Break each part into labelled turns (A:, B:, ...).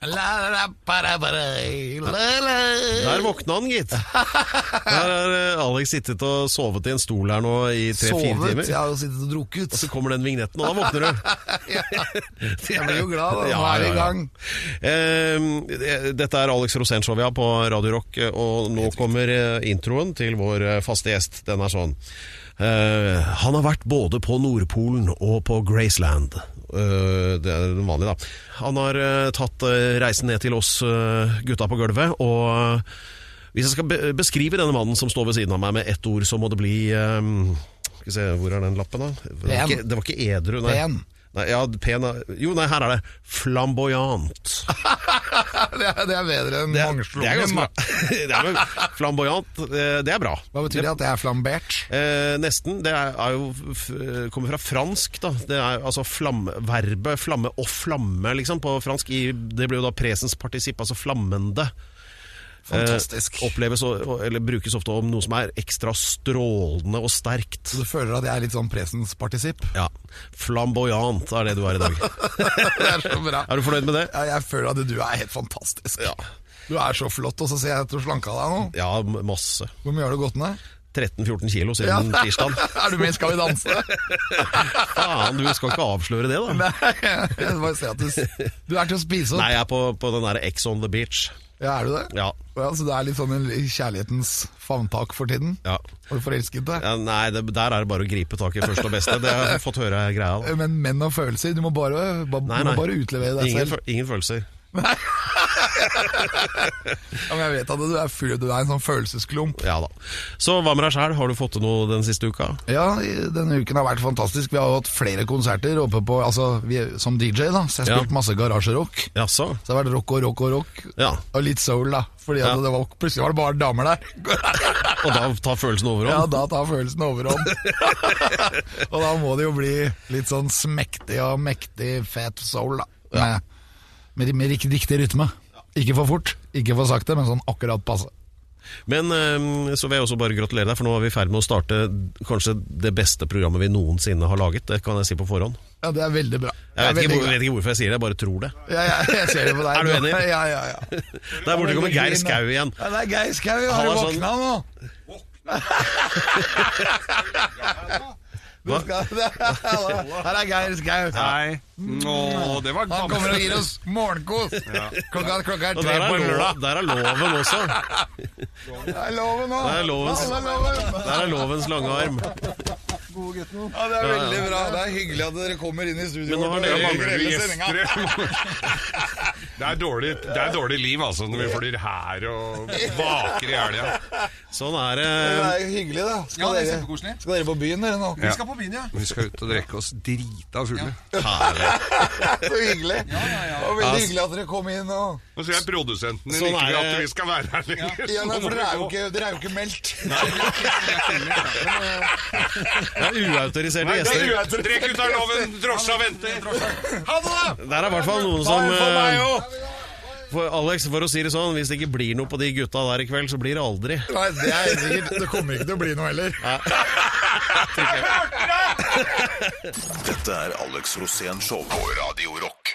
A: La, la, para, para, eh, la, la.
B: Der våkna han, gitt. Der har eh, Alex sittet og sovet i en stol her nå i tre-fire
A: Sovet,
B: timer.
A: jeg har jo sittet og drukket.
B: Så kommer den vignetten, og da våkner du.
A: Ja. Jeg blir jo glad, da. Nå er vi i gang.
B: Eh, dette er Alex Rosén-show vi har på Radio Rock, og nå kommer eh, introen til vår eh, faste gjest. Den er sånn. Eh, han har vært både på Nordpolen og på Graceland. Eh, det er den vanlige, da. Han har eh, tatt eh, reisen ned til oss eh, gutta på gulvet, og eh, hvis jeg skal be beskrive denne mannen som står ved siden av meg med ett ord, så må det bli eh, Skal vi se, hvor er den lappen, da? Det var
A: Pen.
B: ikke, det var ikke edru, nei.
A: Pen.
B: Nei, ja, pen er- Jo, nei, her er det. Flamboyant.
A: Ah, Det er, det er bedre enn
B: Det er, det er
A: mangslungen.
B: ganske bra. det er vel flamboyant, eh, det er bra.
A: Hva betyr det? At jeg er flambert?
B: Eh, nesten. Det er, er jo f eh, kommer fra fransk, da. Det er altså flamme, verbet flamme og flamme, liksom, på fransk. I, det blir jo da presens partisipp, altså flammende.
A: Fantastisk.
B: Eh, oppleves og, og- eller brukes ofte om noe som er ekstra strålende og sterkt.
A: Så du føler at jeg er litt sånn presens partisipp?
B: Ja. Flamboyant er det du er i dag.
A: Det er så bra.
B: Er du fornøyd med det?
A: Ja, Jeg føler at du er helt fantastisk. Du er så flott, og så ser jeg at du slanka deg nå.
B: Ja, masse.
A: Hvor mye har du gått ned?
B: 13-14 kilo siden tirsdag.
A: er du med i Skal vi danse?
B: Faen, du skal ikke avsløre det, da.
A: Nei, jeg bare ser at du, s- du er til å spise opp.
B: Nei, jeg er på, på den derre Ex on the beach.
A: Ja, er du det?
B: Ja.
A: Ja, så det er litt sånn en kjærlighetens favntak for tiden?
B: ja.
A: Har du forelsket deg?
B: ja nei, det, der er det bare å gripe tak i første og beste. Det har jeg fått høre er greia. Da.
A: Men menn og følelser, du må bare, ba,
B: Nei,
A: du
B: nei.
A: må bare utlevere deg
B: Ingen,
A: selv.
B: føl- ingen følelser.
A: Ja, men jeg vet at du er, full, du er en sånn følelsesklump.
B: Ja da. Så hva med deg sjæl, har du fått til noe den siste uka?
A: Ja, i- denne uken har vært fantastisk. Vi har jo hatt flere konserter oppe på, altså, vi, som DJ da, så jeg har
B: Ja.
A: spilt masse garasjerock.
B: Jaså?
A: Så det har vært rock og rock og rock,
B: Ja.
A: og litt soul da, fordi at
B: Ja.
A: det var, plutselig var det bare damer der.
B: Og da tar følelsen
A: Ja,
B: overhånd?
A: da tar følelsen overhånd. og da må det jo bli litt sånn smektig og mektig fet soul, da. Med, med, ri- med rik- riktig rytme. Ikke for fort, ikke for sakte, men sånn akkurat passe.
B: Men eh, så vil jeg også bare gratulere deg, for nå er vi i ferd med å starte kanskje det beste programmet vi noensinne har laget. Det kan jeg si på forhånd.
A: Ja, det er veldig bra.
B: Jeg vet
A: Det er
B: ikke, hvor-
A: veldig
B: vet ikke hvorfor jeg sier det, jeg bare tror det.
A: bra. Ja, ja, jeg ser det på deg.
B: Er du enig?
A: Ja, ja, ja.
B: Der borte kommer Geir Skau igjen.
A: Ja, det er Geir Skau.
B: Han
A: Har du
B: er sånn-
A: våkna nå? Du skal- Her er Geir Skau.
C: Nei. Å, det var
A: Han kommer og
C: gammelt.
A: gir oss morgenkos. Klokka, klokka er
B: Og
A: tre
B: der
A: på
B: er,
A: lørdag.
B: lo- der er loven også.
A: Det er loven nå.
B: Der er lovens,
A: Det er loven.
B: der er lovens lange arm.
A: Ja, det er veldig bra. Det er hyggelig at dere kommer inn i studio.
B: Men nå har
A: vårt og
B: dere-
C: Det mangler
A: grelle
C: vi
A: sendinga.
C: gjester. Det er, dårlig, det er dårlig liv, altså, når vi flyr her og vaker i helga.
B: Sånn er det.
A: Det er hyggelig, da. Skal,
D: Ja, det er
A: dere,
D: kjempekoselig.
A: skal dere på byen, dere nå?
D: Vi skal på byen, ja.
C: Vi skal ut og drikke oss drita fulle.
B: Herlig.
A: Så hyggelig.
D: ja, ja.
A: Det var veldig hyggelig at dere kom inn og
C: Nå sier jeg produsenten din
B: Sånn
C: ikke
B: er
C: vil at
B: det.
C: vi skal være her lenger.
A: ja,
C: så
A: nei,
C: nå må
A: for
C: vi
A: dere er jo
C: gå.
A: ikke, dere er jo ikke meldt.
B: Det er uautoriserte
C: Nei, det er
B: gjester.
C: uansett. Trekk ut av loven, drosja venter. Ha det! da!
B: Der er i hvert fall noen som eh, for Alex, for å si det sånn, hvis det ikke blir noe på de gutta der i kveld, så blir det aldri.
A: Nei, det er helt sikkert. Det kommer ikke til å bli noe heller.
E: Dette er Alex Rosén Show på Radio Rock.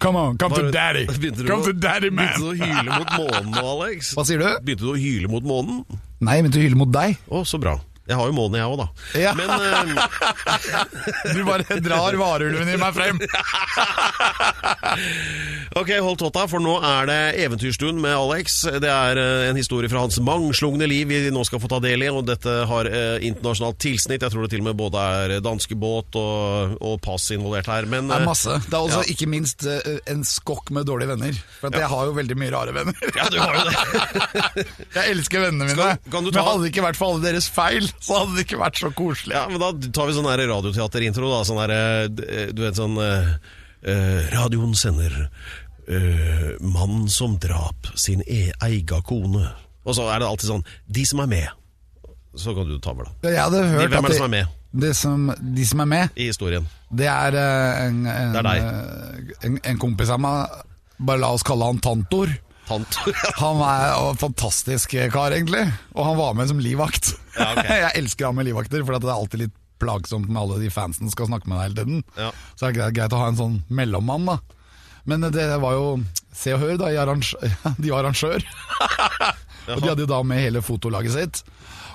D: Come on, come
B: Bare-
D: to daddy.
B: Begynte du
D: Come
B: å-
D: to daddy,
B: Begynte du
D: man.
B: å hyle mot månen nå, Alex?
A: Hva sier du?
B: Begynte du å hyle mot månen?
A: Nei, men til å hylle mot deg.
B: Å, så bra. Jeg har jo månen, jeg òg, da.
A: Ja.
B: Men eh,
A: Du bare drar varulven i meg frem.
B: ok, hold tåta, for nå er det eventyrstund med Alex. Det er eh, en historie fra hans mangslungne liv vi nå skal få ta del i, og dette har eh, internasjonalt tilsnitt. Jeg tror det til og med både er danskebåt og, og pass involvert her. Men
A: Det er
B: eh,
A: masse. Det er også ikke minst eh, en skokk med dårlige venner. For at jeg har jo veldig mye rare venner.
B: Ja, du har jo det.
A: Jeg elsker vennene mine.
B: Skal- kan du ta-
A: Men hadde det ikke vært for alle deres feil, så hadde det ikke vært så koselig.
B: Ja, men da tar vi sånn her radioteaterintro, da. Sånn her, eh, du vet sånn eh, eh, Radioen sender eh, 'Mannen som drap sin e eiga kone'. Og så er det alltid sånn 'De som er med'. Så kan du ta over, da.
A: Jeg hadde hørt
B: hvem er
A: at
B: det som er med?
A: Det som, de som er med,
B: I historien.
A: det er eh, en, en,
B: Det er deg.
A: eh, en, en kompis av meg. Bare la oss kalle han Tantor.
B: Tantor.
A: Han er jo en fantastisk kar, egentlig. Og han var med som livvakt.
B: Ja, ok.
A: jeg elsker han med livvakter, for at det er alltid litt plagsomt med alle de fansen skal snakke med deg hele tiden.
B: Ja.
A: Så er det greit, greit å ha en sånn mellommann, da. Men det var jo Se og Hør, da. i arrang- De var arrangør. og de hadde jo da med hele fotolaget sitt.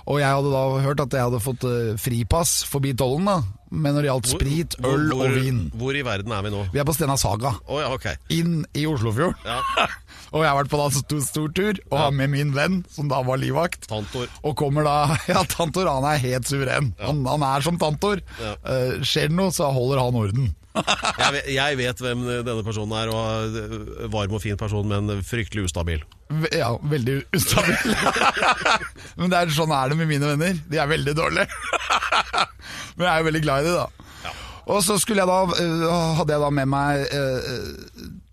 A: Og jeg hadde da hørt at jeg hadde fått eh, fripass forbi tollen, da. Men når det gjaldt sprit,
B: Hvor-
A: øl
B: hvor-
A: og vin
B: Hvor i verden er vi nå?
A: Vi er på Stena Saga.
B: Å ja, ok.
A: Inn i Oslofjorden.
B: Ja.
A: Og jeg har vært på da en stor, stor tur og har med min venn, som da var livvakt.
B: Tantor.
A: Og kommer da Ja, Tantor han er helt suveren. Han, han er som Tantor.
B: Ja.
A: Eh, skjer det noe, så holder han orden.
B: Jeg, vet, jeg vet hvem denne personen er, og eh, varm og fin person, men fryktelig ustabil.
A: Ve- Ja, veldig ustabil. Men det er, sånn er det med mine venner. De er veldig dårlige. Men jeg er jo veldig glad i dem, da. Og så skulle jeg da, eh, hadde jeg da med meg eh,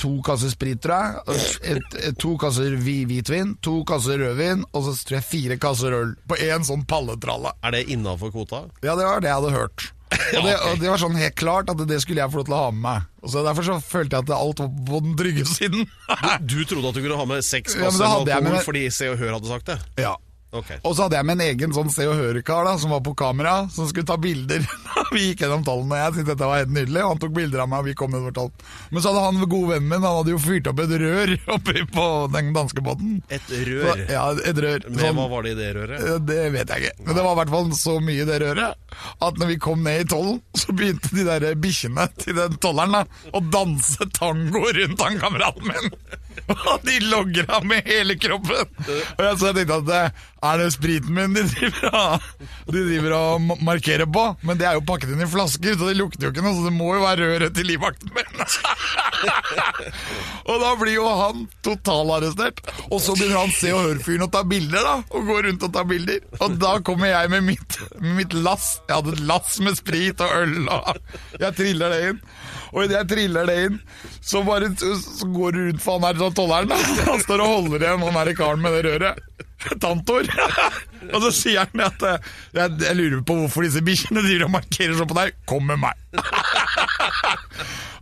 A: to kasser sprit, tror jeg. og Et, et, to kasser hvi- hvitvin, to kasser rødvin, og så tror jeg fire kasser øl på én sånn palletralle.
B: Er det innafor kvota?
A: Ja, det var det jeg hadde hørt. Og det, og det var sånn helt klart at det skulle jeg få lov til å ha med meg. Og så Derfor så følte jeg at alt var på den trygge siden.
B: Du trodde at du kunne ha med seks
A: Ja, men
B: kasser
A: da
B: med
A: hadde jeg
B: alkohol
A: med-
B: fordi Se og Hør hadde sagt det?
A: Ja.
B: Ok.
A: Og så hadde jeg med en egen sånn Se og Hør-kar da, som var på kamera, som skulle ta bilder. vi gikk gjennom tallene, og jeg syntes dette var helt nydelig. Og han tok bilder av meg, og vi kom nedover tall. Men så hadde han gode vennen min, han hadde jo fyrt opp et rør oppi på den danske båten.
B: Et rør.
A: Ja, Sånn- et rør.
B: Med hva var det i det røret?
A: Eh, Det vet jeg ikke. Men det var i hvert fall så mye i det røret at når vi kom ned i tollen, så begynte de der bikkjene til den tolleren da, å danse tango rundt han kameraten min. Og de logra med hele kroppen. Og jeg så jeg tenkte at eh, er det spriten min de driver og, de driver og ma- markerer på? Men det er jo pakket inn i flasker, så det lukter jo ikke noe, så det må jo være røret til livvakten min. Og da blir jo han totalarrestert. Og så begynner han se og hør-fyren å ta bilder, da. Og går rundt og tar bilder. Og da kommer jeg med mitt, med mitt lass. Jeg hadde et lass med sprit og øl. Og jeg triller det inn. Og idet jeg triller det inn, så bare så går det rundt for han her sånn tolleren. da. Han står og holder igjen han her i karen med det røret. Tantor. Og så sier han at eh, jeg, jeg lurer på hvorfor disse bikkjene driver og markerer sånn på deg. Kom med meg.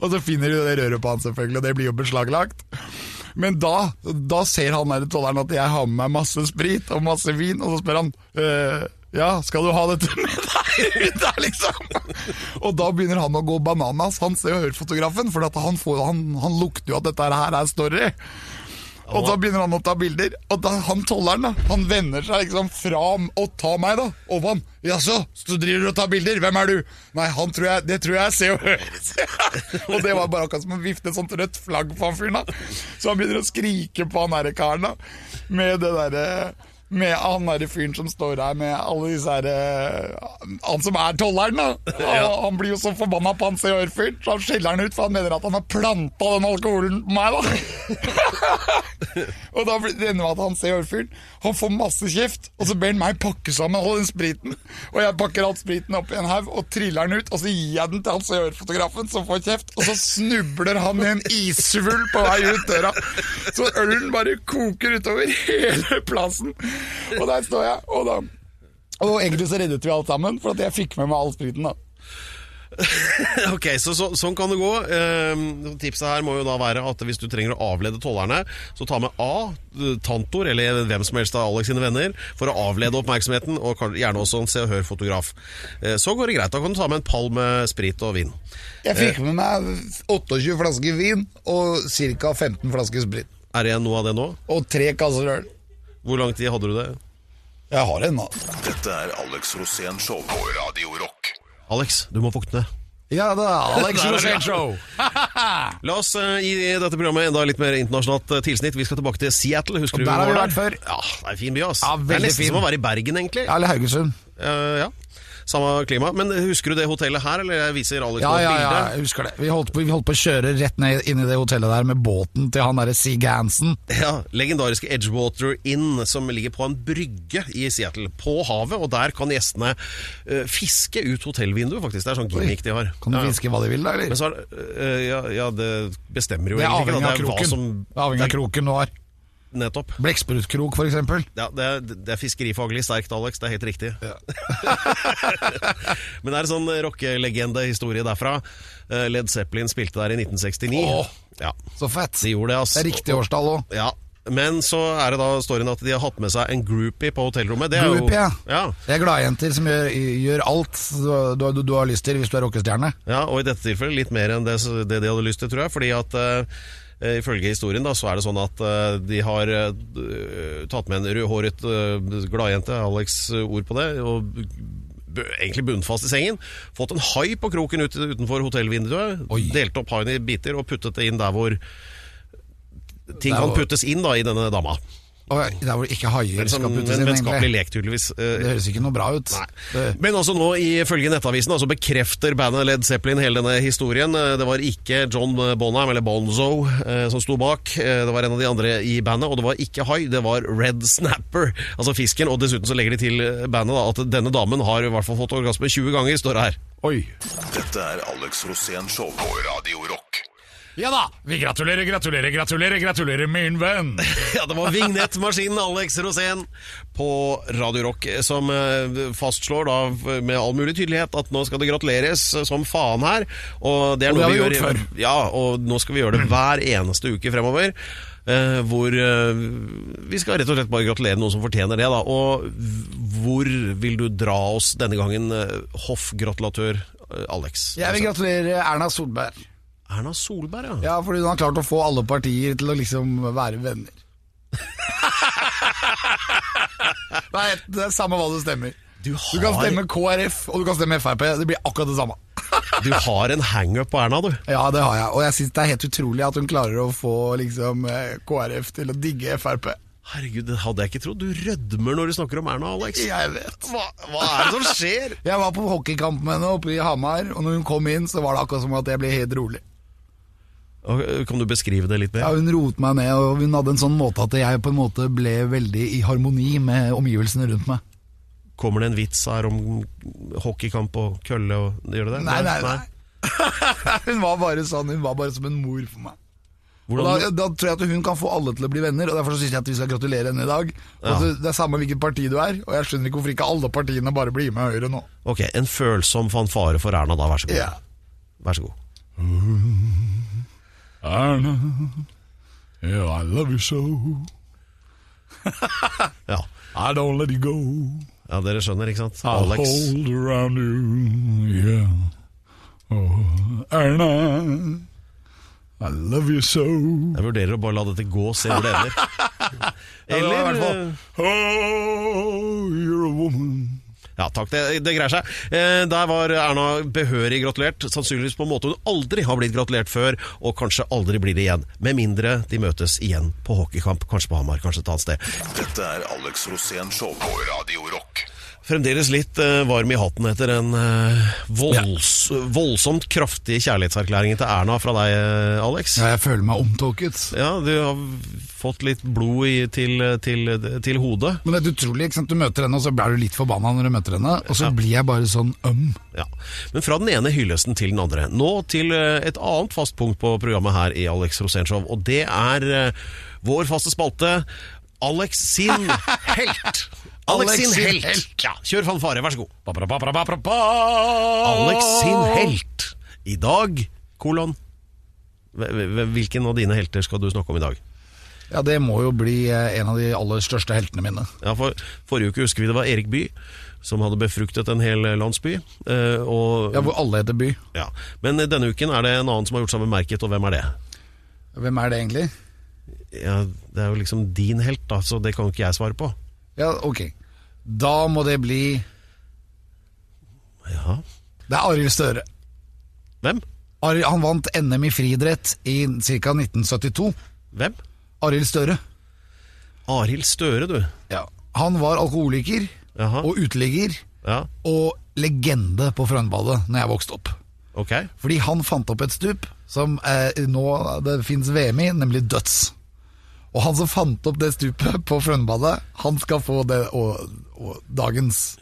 A: Og så finner de det røret på han selvfølgelig, og det blir jo beslaglagt. Men da, da ser han der tolleren at jeg har med meg masse sprit og masse vin, og så spør han «Eh, ja, skal du ha dette med deg ut der, liksom? Og da begynner han å gå bananas, han ser jo hørfotografen, for at han, får, han, han lukter jo at dette her er story. Og da begynner han å ta bilder, og da, han tolleren da, han vender seg liksom fra og tar meg da, over han. Jaså, så driver du og tar bilder, hvem er du? Nei, han tror jeg, det tror jeg ser og hører. og det var bare akkurat som å vifte et sånt rødt flagg på han fyren da. Så han begynner å skrike på han her karen da, med det derre med han der fyren som står her med alle disse her eh, Han som er tolleren, da. Og han blir jo så forbanna på han Se og Hør-fyren, så han skjeller han ut, for han mener at han har planta den alkoholen på meg, da. og da blir det ender med at han Se og Hør-fyren Han får masse kjeft, og så ber han meg pakke sammen all den spriten. Og jeg pakker all spriten opp i en haug og triller den ut, og så gir jeg den til han Se og Hør-fotografen, som får kjeft, og så snubler han i en isvull på vei ut døra. Så ølen bare koker utover hele plassen. Og der står jeg, og da Og egentlig så reddet vi alt sammen, for at jeg fikk med meg all spriten, da.
B: Ok, så, så Sånn kan det gå. Ehm, tipset her må jo da være at hvis du trenger å avlede tollerne, så ta med A, Tantor eller hvem som helst av Alex sine venner, for å avlede oppmerksomheten, og kan- gjerne også en Se og Hør-fotograf. Eh, så går det greit. Da kan du ta med en pall med sprit og vin.
A: Jeg fikk med meg 28 flasker vin og ca. 15 flasker sprit.
B: Er det igjen noe av det nå?
A: Og tre kasser øl.
B: Hvor lang tid hadde du det?
A: Jeg har en, da.
E: Dette er Alex Rosén Show på Radio Rock.
B: Alex, du må våkne.
A: Ja, det er Alex
B: Der er det.
A: Rosén Show.
B: La oss eh, gi dette programmet enda litt mer internasjonalt eh, tilsnitt. Vi skal tilbake til Seattle. Husker
A: Og
B: du
A: der
B: vi
A: har vi
B: var
A: vært før.
B: Ja, det er en fin by, ass.
A: Ja,
B: det er
A: veldig
B: nesten
A: fin.
B: som å være i Bergen, egentlig.
A: Ja, eller Haugesund.
B: Eh, ja. Samme klima. Men husker du det hotellet her, eller jeg viser Alex
A: Ja,
B: noen
A: ja, ja,
B: bilder?
A: jeg husker det. Vi holdt, på, vi holdt på å kjøre rett ned inn i det hotellet der med båten til han derre Sig Hansen.
B: Ja, legendariske Edgewater Inn, som ligger på en brygge i Seattle, på havet. Og der kan gjestene eh, fiske ut hotellvinduet, faktisk. Det er sånn gimmick de har.
A: Kan du
B: Ja.
A: fiske hva de vil, da, eller?
B: Men så er det eh, ja, ja, det bestemmer jo
A: Det er
B: egentlig
A: avhengig
B: da.
A: av
B: Det er hva
A: kroken.
B: som-
A: Det er avhengig av
B: det er-
A: kroken du har.
B: Nettopp.
A: Blekkspruttkrok, for eksempel.
B: Ja, det er, det er fiskerifaglig sterkt, Alex. Det er helt riktig. Men det er en sånn rockelegendehistorie derfra. Eh, Led Zeppelin spilte der i 1969.
A: Åh.
B: Ja,
A: Så fett.
B: de gjorde det, ass.
A: Det er riktig årstall òg.
B: Ja. Men så er det da storyen at de har hatt med seg en groupie på hotellrommet. Det er
A: Groupie, ja.
B: jo, ja.
A: Det er gladjenter som gjør, gjør alt du, du, du har lyst til hvis du er rockestjerne.
B: Ja, og i dette tilfellet litt mer enn det, det de hadde lyst til, tror jeg. Fordi at eh, ifølge historien da, så er det sånn at eh, de har eh, tatt med en rødhåret eh, gladjente, Alex eh, ord på det, og b- egentlig bunnfast i sengen. Fått en hai på kroken ut, utenfor hotellvinduet.
A: Oi.
B: Delt opp haien i biter og puttet det inn der hvor ting
A: Der
B: kan
A: hvor-
B: puttes inn da i denne dama.
A: Og der hvor ikke haier
B: En sånn
A: skal
B: en
A: puttes inn,
B: vennskapelig
A: egentlig.
B: lek, tydeligvis.
A: Det
B: Eh,
A: høres ikke noe bra ut.
B: Nei.
A: Det-
B: Men altså nå, ifølge Nettavisen, altså bekrefter bandet Led Zeppelin hele denne historien. Eh, Det var ikke John Bonham, eller Bonzo, eh, som sto bak. Eh, Det var en av de andre i bandet, og det var ikke hai, det var Red Snapper, altså fisken. Og dessuten så legger de til eh, bandet da, at denne damen har i hvert fall fått orgasme 20 ganger, står det her.
A: Oi.
E: Dette er Alex Rosén Show på Radio Rock.
D: Ja da, vi gratulerer, gratulerer, gratulerer, gratulerer, min venn.
B: Ja, det var vignettmaskinen Alex Rosén på Radio Rock som eh, fastslår da med all mulig tydelighet at nå skal det gratuleres eh, som faen her. Og det er
A: Og det
B: noe
A: har vi
B: vi gjør
A: gjort
B: i- Ja, og nå skal vi gjøre det hver eneste uke fremover. eh, hvor eh, vi skal rett og slett bare gratulere noen som fortjener det, da. Og hvor vil du dra oss denne gangen, eh, hoffgratulatør eh, Alex?
A: Jeg vil gratulere Erna Solberg.
B: Erna Solberg, ja.
A: Ja, fordi hun har klart å få alle partier til å liksom være venner. Det er, helt- det er samme hva du stemmer.
B: Du
A: Du kan
B: har,
A: stemme KrF, og du kan stemme Frp. Det blir akkurat det samme.
B: du har en hangup på Erna, du.
A: Ja, det har jeg. Og jeg syns det er helt utrolig at hun klarer å få liksom eh, KrF til å digge Frp.
B: Herregud, det hadde jeg ikke trodd. Du rødmer når du snakker om Erna, Alex.
A: Jeg vet.
B: Hva, hva er det som skjer?
A: Jeg var på hockeykamp med henne oppe i Hamar, og når hun kom inn, så var det akkurat som at jeg ble helt rolig.
B: Og, øh, Kan du beskrive det litt
A: Ja,
B: mer?
A: Hun roet meg ned, og hun hadde en sånn måte at jeg på en måte ble veldig i harmoni med omgivelsene rundt meg.
B: Kommer det en vits her om hockeykamp og kølle og Gjør det det?
A: Nei, nei, nei. Hun var bare sånn, hun var bare som en mor for meg. Og da,
B: Hvordan,
A: da tror jeg at hun kan få alle til å bli venner, og derfor syns jeg at vi skal gratulere henne i dag. Og
B: Ja.
A: så- Det er samme hvilket parti du er, og jeg skjønner ikke hvorfor ikke alle partiene bare blir med Høyre nå.
B: ok, en følsom fanfare for Erna, da. Vær så god.
A: Ja.
B: Vær så god.
D: Erna, yeah, I love you so.
B: Ja.
D: I don't let you go.
B: ja, dere skjønner, ikke sant?
A: Ah,
D: I'll
B: Alex.
D: hold around you, yeah. Oh, Erna, I love you so.
B: Jeg vurderer å bare la dette gå, se hvor det ender.
D: i
B: Eller
D: hvert fall- Oh, you're a woman.
B: Ja, takk, det, det greier seg. Eh, der var Erna behørig gratulert. Sannsynligvis på en måte hun aldri har blitt gratulert før, og kanskje aldri blir det igjen. Med mindre de møtes igjen på hockeykamp, kanskje på Hamar, kanskje et annet sted.
E: Dette er Alex Rosén Show på Radio Rock.
B: Fremdeles litt eh, varm i hatten etter den eh, volds, voldsomt kraftige kjærlighetserklæringen til Erna fra deg, eh, Alex.
A: Ja, jeg føler meg omtåket.
B: Ja, du har fått litt blod i, til, til, til hodet.
A: Men det er utrolig, ikke sant? du møter henne, og så blir du litt forbanna når du møter henne, og så blir jeg bare sånn øm.
B: Ja. Men fra den ene hyllesten til den andre. Nå til eh, et annet fast punkt på programmet her i Alex Rosénshow, og det er eh, vår faste spalte Alex sin helt. Alex sin helt. Ja, kjør fanfare, vær så god. Alex sin helt. I dag, kolon Hve- hve- Hvilken av dine helter skal du snakke om i dag?
A: Ja, det må jo bli eh, en av de aller største heltene mine.
B: Ja, for Forrige uke husker vi det var Erik Bye som hadde befruktet en hel landsby. eh, Og,
A: Ja, Hvor alle heter By.
B: ja. Men denne uken er det en annen som har gjort samme merket, og hvem er det?
A: Hvem er det egentlig?
B: ja, det er jo liksom din helt, da, så det kan jo ikke jeg svare på.
A: Ja, ok. Da må det bli
B: Ja.
A: Det er Arild Støre.
B: Hvem?
A: Ari- Han vant NM i friidrett i ca. 1972.
B: Hvem?
A: Arild Støre.
B: Arild Støre, du.
A: Han var alkoholiker
B: Jaha.
A: og uteligger
B: Ja,
A: og legende på Frognerbadet når jeg vokste opp.
B: ok.
A: Fordi han fant opp et stup som eh, nå det finnes VM i, nemlig døds. Og han som fant opp det stupet på Frognerbadet, han skal få det og, og dagens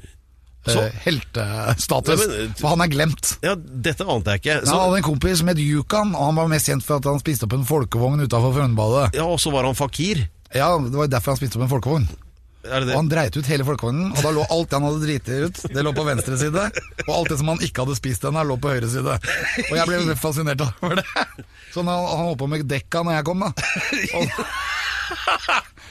B: Så-
A: eh, heltestatus.
B: Nei, men-
A: for han er glemt.
B: Ja, dette ante jeg ikke.
A: Ja,
B: Så,
A: han hadde en kompis som het Yukan, og han var mest kjent for at han spiste opp en folkevogn utafor Frognerbadet.
B: ja, og så var han fakir.
A: Ja, det var derfor han spiste opp en folkevogn.
B: Er det
A: Og
B: det?
A: han dreit ut hele folkevognen, og da lå alt det han hadde driti ut, det lå på venstre side. Og alt det som han ikke hadde spist ennå, lå på høyre side. Og jeg ble fascinert over det. Sånn han, han holdt på med dekka når jeg kom, da. Og,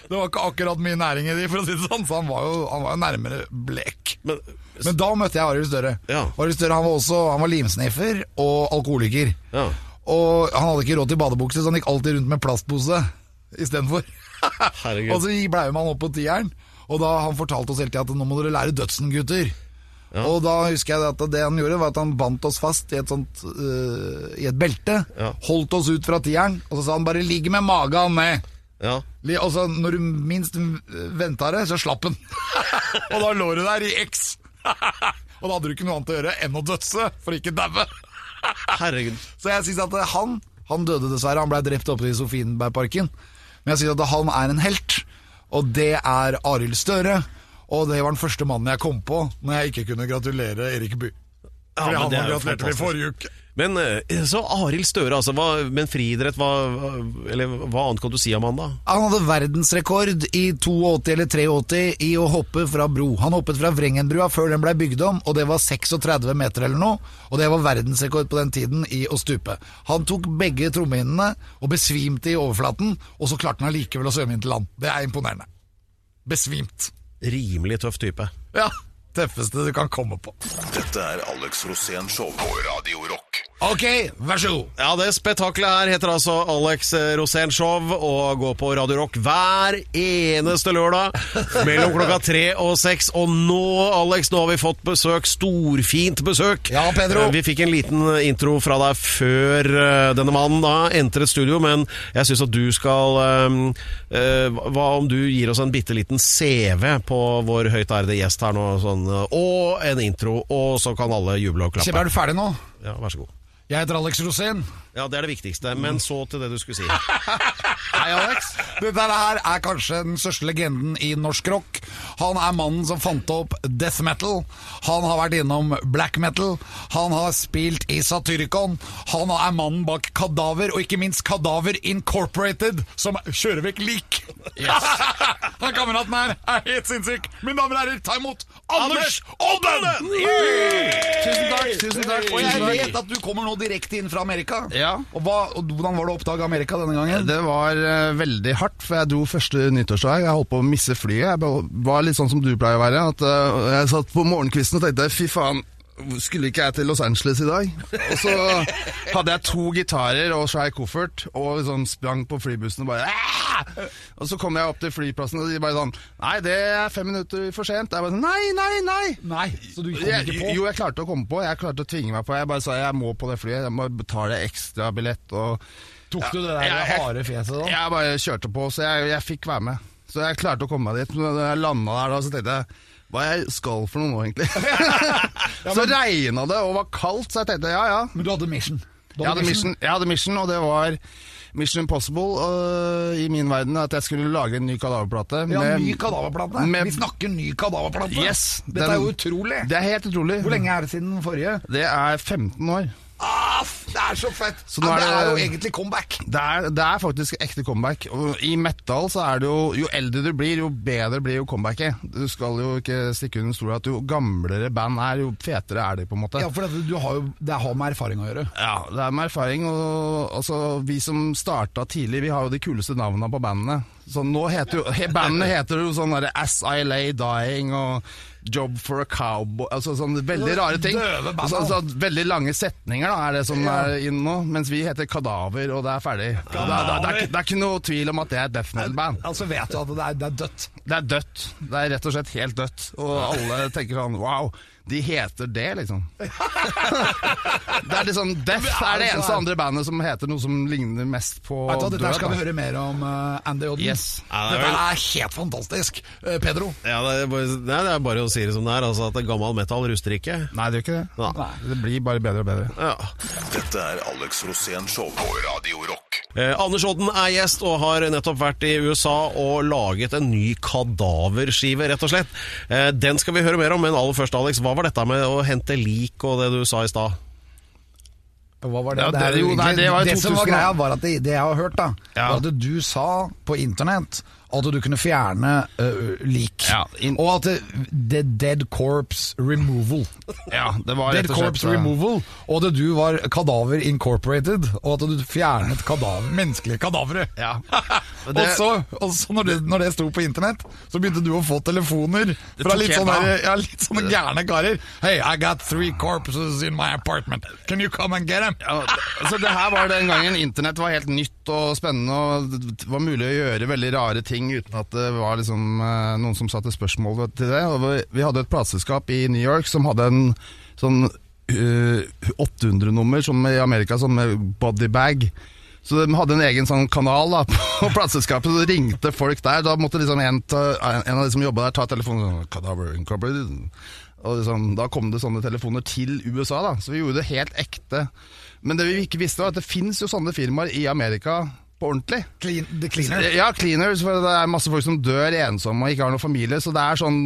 A: det var ikke akkurat mye næring i de, for å si det sånn, så han var jo, han var jo nærmere blek.
B: Men,
A: Men da møtte jeg Arild Støre.
B: Ja.
A: Arild Støre han var også han var limsniffer og alkoholiker.
B: Ja.
A: Og han hadde ikke råd til badebukse, så han gikk alltid rundt med plastpose istedenfor.
B: Herregud.
A: og så blei man opp på tieren, og da han fortalte oss hele tida at nå må dere lære dødsen, gutter. Og da husker jeg at det han gjorde, var at han bandt oss fast i et sånt øh, I et belte.
B: Ja.
A: Holdt oss ut fra tieren, og så sa han bare 'ligg med magen ned'.
B: ja.
A: Li- Altså, når du minst venta det, så slapp den. og da lå du der i X. og da hadde du ikke noe annet å gjøre enn å dødse for ikke daue.
B: Herregud.
A: Så jeg syns at han Han døde dessverre, han ble drept oppe i Sofienbergparken. Men jeg syns at han er en helt, og det er Arild Støre. Og det var den første mannen jeg kom på når jeg ikke kunne gratulere Erik Bye.
B: Ja,
A: Fordi
B: men
A: han
B: det er
A: har
B: jo
A: gratulert meg i
B: fantastisk.
A: forrige uke.
B: Men eh, så Arild Støre, altså. Hva, men friidrett, hva, hva- eller hva annet kan du si, Amanda?
A: Han hadde verdensrekord i 82 eller 83 i å hoppe fra bro. Han hoppet fra Vrengenbrua før den ble bygd om, og det var 36 meter eller noe. Og det var verdensrekord på den tiden i å stupe. Han tok begge trommehinnene og besvimte i overflaten, og så klarte han allikevel å svømme inn til land. Det er imponerende. Besvimt.
B: Rimelig tøff type.
A: Ja, tøffeste du kan komme på.
E: Dette er Alex Rosén Show på Radio Rock.
A: Ok, vær så god.
B: Ja, det spetakkelet her heter altså Alex Rosén Show og går på Radio Rock hver eneste lørdag mellom klokka tre og seks. Og nå, Alex, nå har vi fått besøk. Storfint besøk.
A: Ja, Pedro.
B: Eh, Vi fikk en liten intro fra deg før eh, denne mannen da entret studio, men jeg syns at du skal eh, eh, Hva om du gir oss en bitte liten CV på vår høyt ærede gjest her nå, sånn, eh, og en intro, og så kan alle juble og
A: Kjempe,
B: klappe.
A: er du ferdig nå?
B: Ja, vær så god.
A: Jeg heter Alex Rosén.
B: Ja, det er det viktigste. Men så til det du skulle si.
A: Hei, Alex. Dette her er kanskje den største legenden i norsk rock. Han er mannen som fant opp death metal. Han har vært innom black metal. Han har spilt i Satyricon. Han er mannen bak Kadaver, og ikke minst Kadaver Incorporated, som kjører vekk lik. Han kameraten her er helt sinnssyk. Mine damer og herrer, ta imot Anders Odden! Tusen takk. tusen takk Og jeg vet at du kommer nå direkte inn fra Amerika.
F: Ja.
A: Og, hva, og Hvordan var det å oppdage Amerika denne gangen?
F: Det var eh, veldig hardt, for jeg dro første nyttårsdag. Jeg holdt på å misse flyet. Jeg be- var litt sånn som du pleier å være. At, eh, jeg satt på morgenkvisten og tenkte fy faen, skulle ikke jeg til Los Angeles i dag? Og så hadde jeg to gitarer og svær koffert, og liksom sprang på flybussen og bare "Aah!" Og så kom jeg opp til flyplassen, og de bare sånn Nei, det er fem minutter for sent. Jeg bare sånn Nei, nei, nei!
A: Nei, så du kom
F: Jeg,
A: ikke på?
F: jo, jeg klarte å komme på. Jeg klarte å tvinge meg på. Jeg bare sa jeg må på det flyet. Jeg må betale ekstra billett og
A: Tok du det der
F: Ja, jeg-
A: harde fjeset da?
F: jeg bare kjørte på, så jeg, jeg fikk være med. Så jeg klarte å komme meg dit. Men da jeg landa der da, så tenkte jeg hva er jeg skal for noe nå, egentlig? Så regna det og var kaldt, så jeg tenkte ja, ja.
A: Men du hadde mission. Du
F: Jeg hadde mission, jeg hadde mission og det var Mission Impossible øh, i min verden. At jeg skulle lage en ny kadaverplate.
A: Ja,
F: med-
A: ny kadaverplate.
F: med-
A: Vi snakker ny kadaverplate.
F: Yes,
A: Dette
F: den-
A: er jo utrolig.
F: Det er helt utrolig.
A: Hvor lenge er det siden den forrige?
F: Det er 15 år.
A: Aff, det er så fett!
F: Så nå
A: ja,
F: er
A: det, er
F: det-
A: jo egentlig comeback.
F: Det er, det er faktisk ekte comeback. Og I metal så er det jo Jo eldre du blir, jo bedre blir jo comebacket. Du skal jo ikke stikke under stol at jo gamlere band er, jo fetere er de, på en måte.
A: Ja,
F: Ja,
A: for det, du har jo, det har med erfaring å gjøre.
F: Det er med erfaring. Og altså, vi som starta tidlig, vi har jo de kuleste navnene på bandene. Så nå heter jo he, Bandene heter jo sånn derre As I Lay Dying og Job for a Cowboy Altså sånne veldig rare ting.
A: Døve band,
F: Altså, altså, veldig lange setninger da, er det som er inne nå. Mens vi heter Kadaver, og det er ferdig. Det er, det, er, det, er, ikke- det er ikke noe tvil om at det er et death metal-band.
A: Altså vet du at det er, det er dødt.
F: Det er dødt. Det er rett og slett helt dødt. Og alle tenker sånn Wow, de heter det, liksom. det er liksom Death er det eneste andre bandet som heter noe som ligner mest på
A: Vet du, hva, dette her skal
F: da.
A: vi høre mer om, eh, Andy Odden.
F: Yes.
B: Ja, det er
A: Dette
B: vel-
A: er helt fantastisk. Eh, Pedro,
B: Ja, det er bare, nei, det er bare å si det som det er. Altså, at Gammal metal ruster ikke.
F: Nei, det gjør ikke det.
B: Nei.
F: Det blir bare bedre og bedre.
B: Ja.
E: Dette er Alex Rosén Show på Radio Rock.
B: Eh, Anders Odden er gjest og har nettopp vært i USA og laget en ny kadaverskive, rett og slett. Eh, den skal vi høre mer om, men aller først, Alex, hva var dette med å hente lik og det du sa i stad?
A: hva var det?
F: Ja,
A: er
F: det- jo, nei,
A: egentlig-
F: det var i
A: som var
F: 2000.
A: greia, var at det, det jeg har hørt, da,
F: Ja.
A: var at du sa på internett at du kunne fjerne eh, lik.
F: Ja, in-
A: og at det, det dead corpse removal.
F: Ja, det var
A: Dead
F: rett og slett
A: corpse removal, og at du var kadaver incorporated, og at du fjernet kadaver, menneskelige kadavere.
F: Ja.
A: Og
F: Det-
A: så, og så når, det, når det sto på internett, så begynte du å få telefoner fra
F: tok
A: litt
F: helt
A: sånne,
F: av.
A: der- ja, litt sånne gærne karer. Hey, I got three corpses in my apartment. Can you come and get them?
F: Ja, altså det her var den gangen internett var helt nytt og spennende, og det var mulig å gjøre veldig rare ting uten at det var liksom, eh, noen som satte spørsmål til det. Og vi- vi hadde et plateselskap i New York som hadde en sånn 800-nummer, som i Amerika, som med bodybag. Så de hadde en egen sånn kanal da, på plateselskapet, så ringte folk der. Da måtte liksom en, ta, en av de som jobba der, ta telefonen. Sånn, Cadaver Incorporated. Og liksom, da kom det sånne telefoner til USA, da. Så vi gjorde det helt ekte. Men det vi ikke visste, var at det fins jo sånne firmaer i Amerika på ordentlig.
A: Clean, the cleaner.
F: Ja, cleaners, for det er masse folk som dør ensomme og ikke har noen familie. Så det er sånn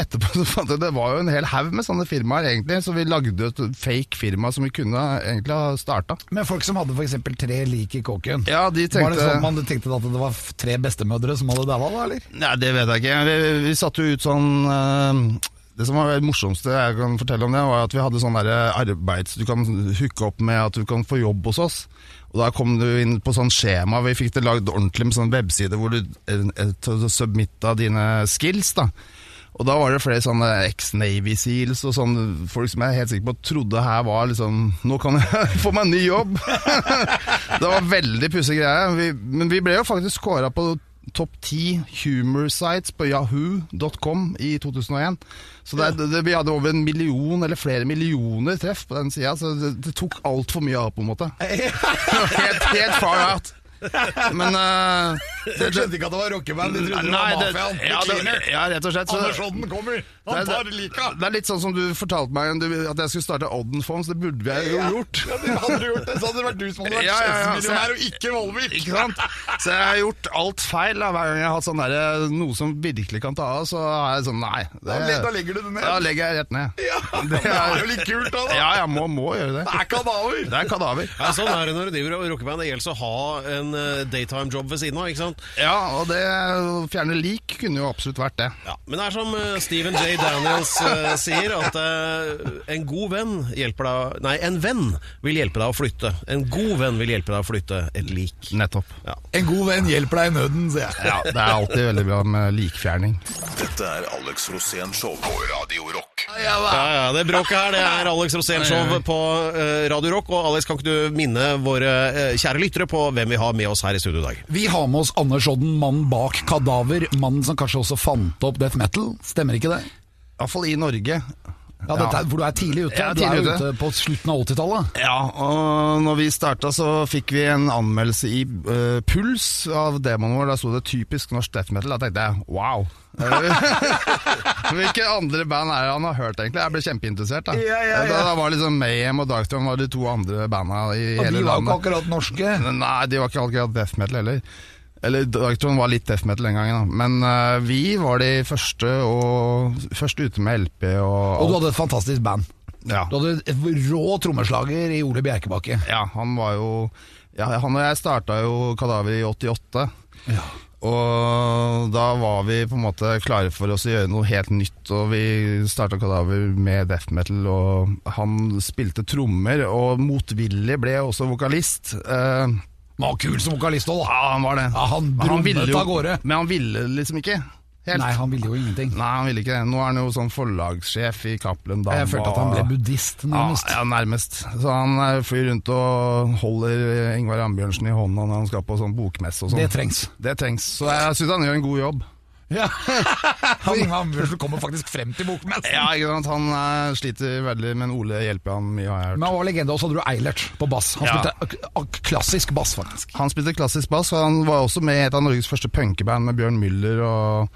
F: Etterpå så fant jeg Det var jo en hel haug med sånne firmaer, egentlig. Så vi lagde jo et fake firma som vi kunne egentlig ha starta.
A: Men folk som hadde for eksempel tre lik i kåken,
F: Ja, de
A: var det
F: tenkte-
A: sånn man tenkte at det var f- tre bestemødre som hadde daua da, eller?
F: Nei, det vet jeg ikke. Vi, vi satte jo ut sånn eh, Det som var det morsomste jeg kan fortelle om det, var at vi hadde sånn derre arbeids... Du kan hooke opp med at du kan få jobb hos oss. Og da kom du inn på sånn skjema. Vi fikk det lagd ordentlig med sånn webside hvor du eh, eh, submitta dine skills, da. Og da var det flere sånne ex-Navy Seals og sånne folk som jeg er helt sikker på trodde her var liksom Nå kan jeg få meg en ny jobb! det var veldig pussig greie. Vi, men vi ble jo faktisk kåra på topp ti humor sites på yahoo.com i 2001. Så det, det, vi hadde over en million eller flere millioner treff på den sida, så det, det tok altfor mye av, på en måte. helt, helt far out. Men eh, det, det,
A: ikke at det var rockeband, de
F: Nei, det, ja, det, ja, rett og slett. så-
A: kommer,
F: det, det, det er litt sånn som du fortalte meg om du, at jeg skulle starte Odden Fonds. Det burde jeg jo gjort.
A: hadde du gjort det, så hadde det vært du som hadde
F: Ja, ja, ja, så jeg-
A: og ikke Volvik.
F: Ikke sant? Så jeg har gjort alt feil. Da. Hver gang jeg har hatt sånn der, noe som virkelig kan ta av, så er jeg sånn nei. det-
A: legger du det
F: da legger jeg rett ned.
A: det er jo litt kult da, da.
F: Ja, jeg må, må gjøre det.
A: er kadaver.
F: Det er kadaver.
B: Ja, sånn er det når du driver og rockeband. Det gjelder å ha en eh, daytime-job ved siden av. ikke sant?
F: Ja, og det å fjerne lik kunne jo absolutt vært det.
B: Ja, Men det er som eh, Stephen J. Daniels eh, sier, at eh, en god venn hjelper deg Nei, en venn vil hjelpe deg å flytte. En god venn vil hjelpe deg å flytte et lik.
F: Nettopp.
A: En god venn hjelper deg i nøden, sier jeg.
F: Ja, det er alltid veldig bra med likfjerning.
E: Dette er Alex Rosén Show på Radio Rock.
B: Ja, ja, Det bråket her, det er Alex Rosén-show på eh, Radio Rock. Og Alex, kan ikke du minne våre eh, kjære lyttere på hvem vi har med oss her i studio i dag?
A: Vi har med oss Anders Odden, mannen bak Kadaver, mannen som kanskje også fant opp death metal. Stemmer ikke det?
F: Iallfall i Norge.
A: Ja, dette er, For du er tidlig ute.
F: Jeg er
A: du er
F: tidlig
A: jo ute
F: ute.
A: på slutten av 80-tallet.
F: Ja, og når vi starta så fikk vi en anmeldelse i eh, Puls av demoen vår. Der sto det 'typisk norsk death metal'. Da tenkte jeg wow. Eh, Hvilke andre band er det han har hørt, egentlig? Jeg ble kjempeinteressert. Da Da, da var liksom Mayhem og Darkthrone var de to andre banda i
A: Og de var jo
F: hele
A: ikke
F: landet.
A: akkurat norske.
F: Nei, de var ikke akkurat death metal heller. Eller Darkthrone var litt death metal den gangen, da. Men eh, vi var de første, og, første ute med LP og
A: Og du hadde et fantastisk band.
F: ja.
A: Du hadde et rå trommeslager i Ole Bjerkebakke.
F: Ja, han var jo ja, Han og jeg starta jo Kadaver i 88. Og da var vi på en måte klare for oss å gjøre noe helt nytt, og vi starta Kadaver med death metal, og han spilte trommer, og motvillig ble jeg også vokalist. Eh,
A: Han var kul som vokalist òg, da.
F: ja, han var det.
A: Ja, han
F: Men ville
A: brummet
F: jo-
A: av gårde.
F: Men han ville liksom ikke helt.
A: Nei, han ville jo ingenting.
F: Nei, han ville ikke det. Nå er han jo sånn forlagssjef i Cappelen Dam.
A: Jeg følte at han
F: og-
A: ble buddhist, nærmest.
F: Ja, ja, nærmest. Så han eh, flyr rundt og holder eh, Ingvar Ambjørnsen i hånda når han skal på sånn bokmesse og sånn.
A: Det trengs.
F: Det trengs. Så jeg syns han gjør en god jobb.
A: Ja. Han Ambjørnsen kommer faktisk frem til bokmessen.
F: Ja, ikke sant? Han eh, sliter veldig, men Ole hjelper han mye, har jeg hørt.
A: Men han var legende, og så hadde du Eilert på bass. Han
F: Ja.
A: spilte ak- ak- klassisk bass, faktisk.
F: Han spilte klassisk bass, og han var også med i et av Norges første punkeband med Bjørn Müller og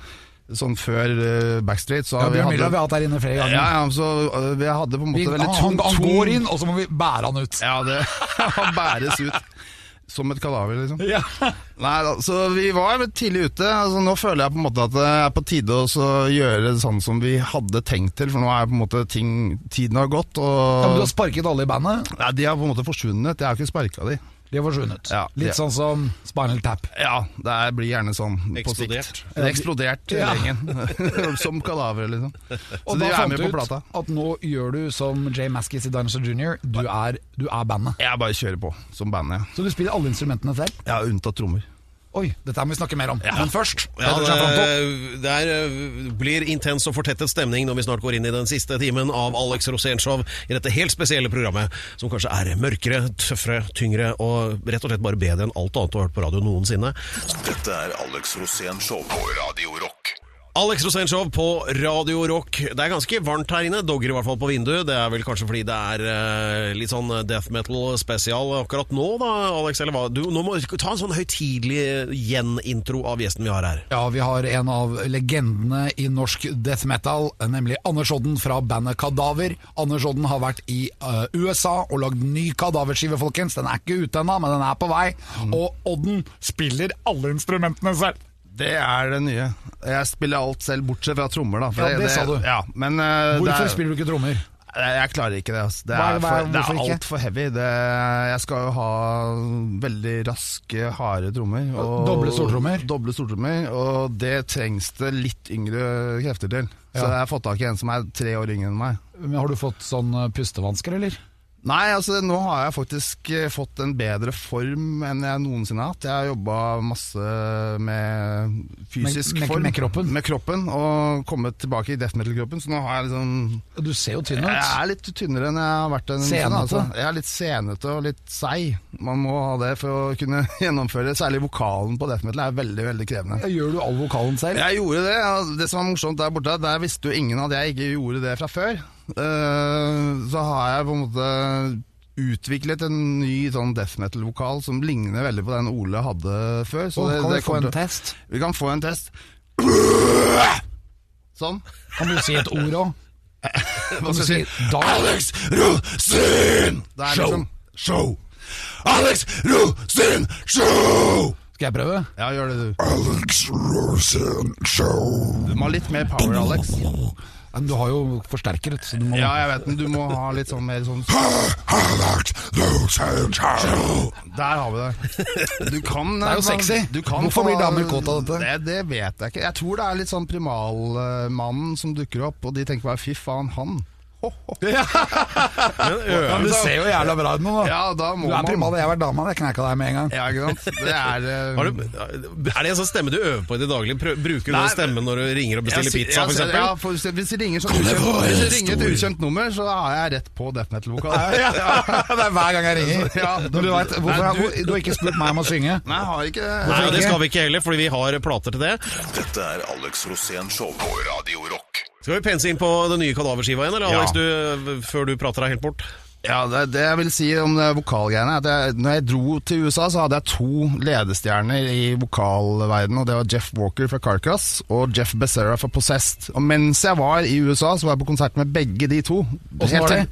F: sånn før eh, Backstreet. Så
A: Ja,
F: vi
A: Bjørn Myhre har vi
F: hadde,
A: hatt her inne flere
F: ja,
A: ganger.
F: ja, så eh, vi hadde på en
A: Vi,
F: måte
A: han,
F: veldig
A: han,
F: tung
A: han
F: tung-
A: går inn, og så må vi bære han ut.
F: Ja, det han bæres ut som et kadaver, liksom. Nei, da, så vi var vel tidlig ute. Altså, nå føler jeg på en måte at det er på tide å så gjøre det sånn som vi hadde tenkt til, for nå er på en måte ting Tiden har gått,
A: Ja, men du har
F: og
A: sparket alle i bandet.
F: Nei, de har på en måte forsvunnet. Jeg har ikke sparka de.
A: De har forsvunnet.
F: Ja.
A: Litt sånn som Spinal Tap.
F: Ja, det er- blir gjerne sånn på sikt.
B: Eksplodert.
F: Det er eksplodert
A: Ja.
F: hele gjengen. som kadaver, liksom. Så
A: Og
F: de
A: da
F: er
A: fant
F: med
A: du
F: på
A: ut
F: plata.
A: at nå gjør du som Jay Maskis i Dinosaur Junior. Du er, du er bandet.
F: Jeg bare kjører på, som bandet. ja.
A: Så du spiller alle instrumentene selv?
F: Ja, unntatt trommer.
A: Oi, dette må vi snakke mer om. Men først
B: Ja,
A: Petter Schafanto.
B: det, det er, eh, blir intens og fortettet stemning når vi snart går inn i den siste timen av Alex Rosénshow i dette helt spesielle programmet, som kanskje er mørkere, tøffere, tyngre og rett og slett bare bedre enn alt annet du har hørt på radio noensinne.
E: Dette er Alex Rosén Show på Radio Rock.
B: Alex Rosénshow på Radio Rock. Det er ganske varmt her inne. Dogger i hvert fall på vinduet. Det er vel kanskje fordi det er eh, litt sånn death metal spesial akkurat nå, da, Alex? Eller hva? Du, nå må du ta en sånn høytidelig gjenintro av gjesten vi har her.
A: Ja, vi har en av legendene i norsk death metal, nemlig Anders Odden fra bandet Kadaver. Anders Odden har vært i eh, USA og lagd ny kadaverskive, folkens. Den er ikke ute ennå, men den er på vei. Og Odden spiller alle instrumentene selv.
F: Det er det nye. Jeg spiller alt selv, bortsett fra trommer, da. for
A: Ja, det sa du.
F: Ja, men, eh,
A: Hvorfor
F: det er-
A: spiller du ikke trommer?
F: Jeg, jeg klarer ikke det. Altså. Det
A: Hva er
F: er,
A: det- hva er-
F: for, det
A: hvorfor
F: er
A: ikke?
F: altfor heavy. Det, jeg skal jo ha veldig raske, harde trommer.
A: Doble stortrommer?
F: Doble stortrommer, og det trengs det litt yngre krefter til. Så
A: Ja.
F: jeg har fått tak i en som er tre år yngre enn meg.
A: Men har du fått sånn eh, pustevansker, eller?
F: Nei, altså nå har jeg faktisk eh, fått en bedre form enn jeg noensinne har hatt. Jeg har jobba masse med fysisk
A: Med- med-
F: form.
A: med kroppen?
F: Med kroppen, og kommet tilbake i death metal-kroppen, så nå har jeg liksom
A: Du ser jo tynn
F: Jeg
A: ut.
F: er litt tynnere enn jeg har vært. En altså.
A: Senete?
F: Jeg er litt senete og litt seig. Man må ha det for å kunne gjennomføre. Særlig vokalen på death metal er veldig veldig krevende.
A: Gjør du all vokalen selv?
F: Jeg gjorde det. og Det som var morsomt der borte, der visste jo ingen at jeg ikke gjorde det fra før. Eh, Så har jeg på en måte utviklet en ny sånn death metal-vokal som ligner veldig på den Ole hadde før. Så
A: Åh,
F: det,
A: kan
F: det
A: vi få
F: kommer
A: en
F: til-
A: test?
F: Vi kan få en test. Sånn.
A: Kan du si et ord òg? Kan du si da?
F: Alex Rosin Det er
A: Show.
F: liksom Show Alex Rosin Show
A: Skal jeg prøve?
F: Ja, gjør det du
A: Alex Rosen Show.
F: Du må ha litt mer power, Alex
A: Men du har jo forsterkeret, så du må
F: Ja, jeg vet den, du må ha litt sånn mer sånn
A: Alex Rosen Show.
F: Der har vi det Du kan eh,
A: Det er jo sexy.
F: du kan
A: Hvorfor
F: få-
A: blir damer kåt av dette?
F: Det, det vet jeg ikke Jeg tror det er litt sånn primalmannen som dukker opp Og de tenker bare, fy faen, han
A: Ja, men du ser jo jævla bra ut nå, da.
F: Ja, da må
A: du er
F: man
A: primal, og jeg har vært dama. Det knekka deg med en gang.
F: Ja, ikke sant? Det er eh,
B: Har du, er det en sånn stemme du øver på i det daglige? Prø- Bruker du
F: Nei,
B: den stemmen når du ringer og bestiller
F: Jeg ser-
B: pizza,
F: jeg
B: f.eks.?
F: ser- Ja, for hvis- hvis de ringer, sånn ukjent, hvis de ringer et ukjent nummer, så har jeg rett på death metal-vokal.
A: det er hver gang jeg ringer.
F: Ja,
A: Men du, vet, hvorfor,
F: Nei,
A: har- hvor- du har ikke spurt meg om å synge.
F: Nei, jeg har ikke det.
B: Nei, og det
A: ikke?
B: skal vi ikke heller, fordi vi har plater til det.
E: Dette er Alex Rosén Show på Radio Rock.
B: Skal vi pense inn på den nye kadaverskiva igjen, eller
F: Ja.
B: Alex, du, før du prater deg helt bort?
F: Ja, det, det jeg vil si om det vokalgreiene, er at jeg, når jeg dro til USA, så hadde jeg to ledestjerner i vokalverdenen, og det var Jeff Walker fra Carcass og Jeff Becerra fra Possessed. Og mens jeg var i USA, så var jeg på konsert med begge de to.
A: Åssen var det?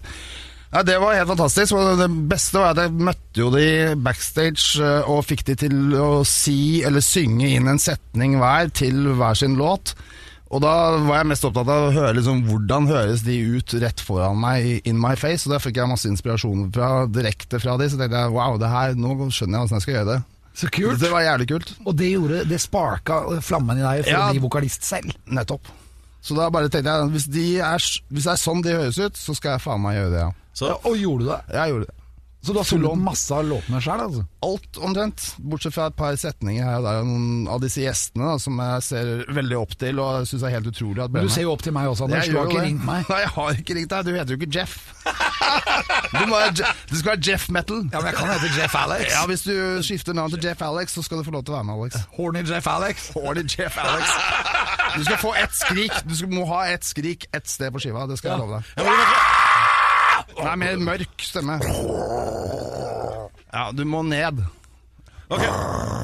F: Ja, det var helt fantastisk. og Det beste var at jeg møtte jo de backstage eh, og fikk de til å si eller synge inn en setning hver til hver sin låt. Og da var jeg mest opptatt av å høre liksom, hvordan høres de ut rett foran meg i in my face. Og der fikk jeg masse inspirasjon fra, direkte fra de, så tenkte jeg wow, det her, nå skjønner jeg hvordan jeg skal gjøre det.
A: Så kult.
F: Det var jævlig kult.
A: Og det gjorde, det sparka flammen i deg for
F: Ja.
A: å bli vokalist selv.
F: Nettopp. Så da bare tenkte jeg hvis, de er, s- hvis det er sånn de høres ut, så skal jeg faen meg gjøre det, ja.
B: Så,
A: Og gjorde du det.
F: Jeg gjorde det.
A: Så du har sunget masse av låtene sjøl, altså?
F: alt omtrent, bortsett fra et par setninger her og der av noen av disse gjestene da, som jeg ser veldig opp til og syns er helt utrolig at ble
A: Men Du
F: med.
A: ser jo opp til meg også,
F: Jeg
A: Anders. Du
F: gjør
A: har
F: jo
A: ikke
F: det.
A: ringt meg.
F: Nei, jeg har ikke ringt deg. Du heter jo ikke Jeff. Du, må, ha Je- du skal være Jeff Metal.
A: Ja, men jeg kan hete Jeff Alex.
F: Ja, Hvis du skifter navn til Jeff Alex, så skal du få lov til å være med, Alex.
A: Horny Jeff Alex.
F: Horny Jeff Alex. Du skal få ett skrik. Du skal, må ha ett skrik ett sted på skiva. Det skal jeg love deg. Nei, mer mørk stemme. Ja, du må ned.
B: ok.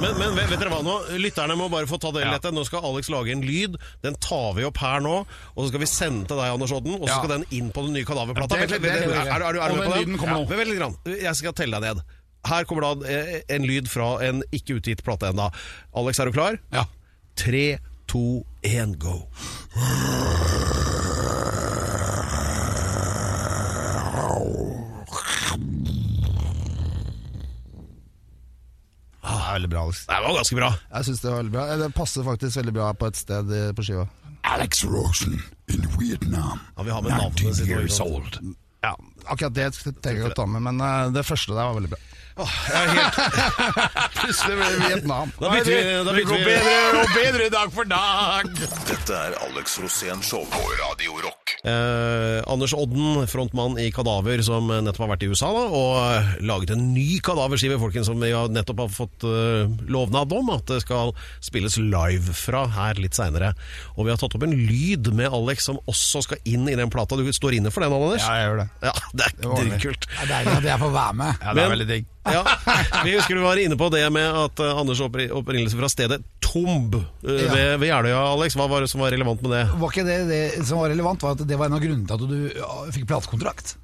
B: Men, men vet vet dere hva nå? Lytterne må bare få ta del i dette. Nå skal Alex lage en lyd. Den tar vi opp her nå, og så skal vi sende til deg, Anders Odden, og så
F: Ja.
B: skal den inn på den nye kadaverplata.
F: Ja, det-
B: Vent litt,
F: det-
B: vent litt. Er, er, du- er du
A: Og
B: med
A: den
B: på
A: lyden
B: den?
A: kommer nå.
B: Vent veldig grann. Jeg skal telle deg ned. Her kommer da eh, en lyd fra en ikke utgitt plate ennå. Alex, er du klar?
A: Ja.
B: Tre, to, én, go.
F: Det er veldig bra, Alex.
B: Det var ganske bra.
F: Jeg syns det var veldig bra. Det passer faktisk veldig bra på et sted eh, på skiva.
A: Alex Rosen in Vietnam,
B: Ja, vi har med navnet sitt og ikke sant.
A: old.
F: Ja, Akkurat det trenger jeg å ta med, men eh, det første der var veldig bra. Plutselig ble det Vietnam.
B: Da bytter vi, da
D: Det
B: bytter
D: går
B: vi.
D: bedre og bedre dag for dag.
E: Dette er Alex Rosén Show på Radio Rock.
B: Eh, Anders Odden, frontmann i Kadaver, som nettopp har vært i USA da, og eh, laget en ny kadaverskive, folkens, som vi har nettopp har fått eh, lovnad om at det skal spilles live fra her litt seinere. Og vi har tatt opp en lyd med Alex som også skal inn i den plata. Du står inne for den, Anders?
F: Ja, jeg gjør det.
B: Ja, det er
F: ordentlig.
B: dritkult.
A: Det er deilig at jeg får være med.
F: Ja, det er
B: Men-
F: veldig digg.
B: Ja, vi husker du var inne på det med at eh, Anders oppri- opprinnelse fra stedet Tomb eh,
A: Ja.
B: ved, ved Jeløya, Alex. Hva var det som var relevant med det?
A: Var ikke det, det som var relevant, var at det var en av grunnene til at du ja, fikk platekontrakt?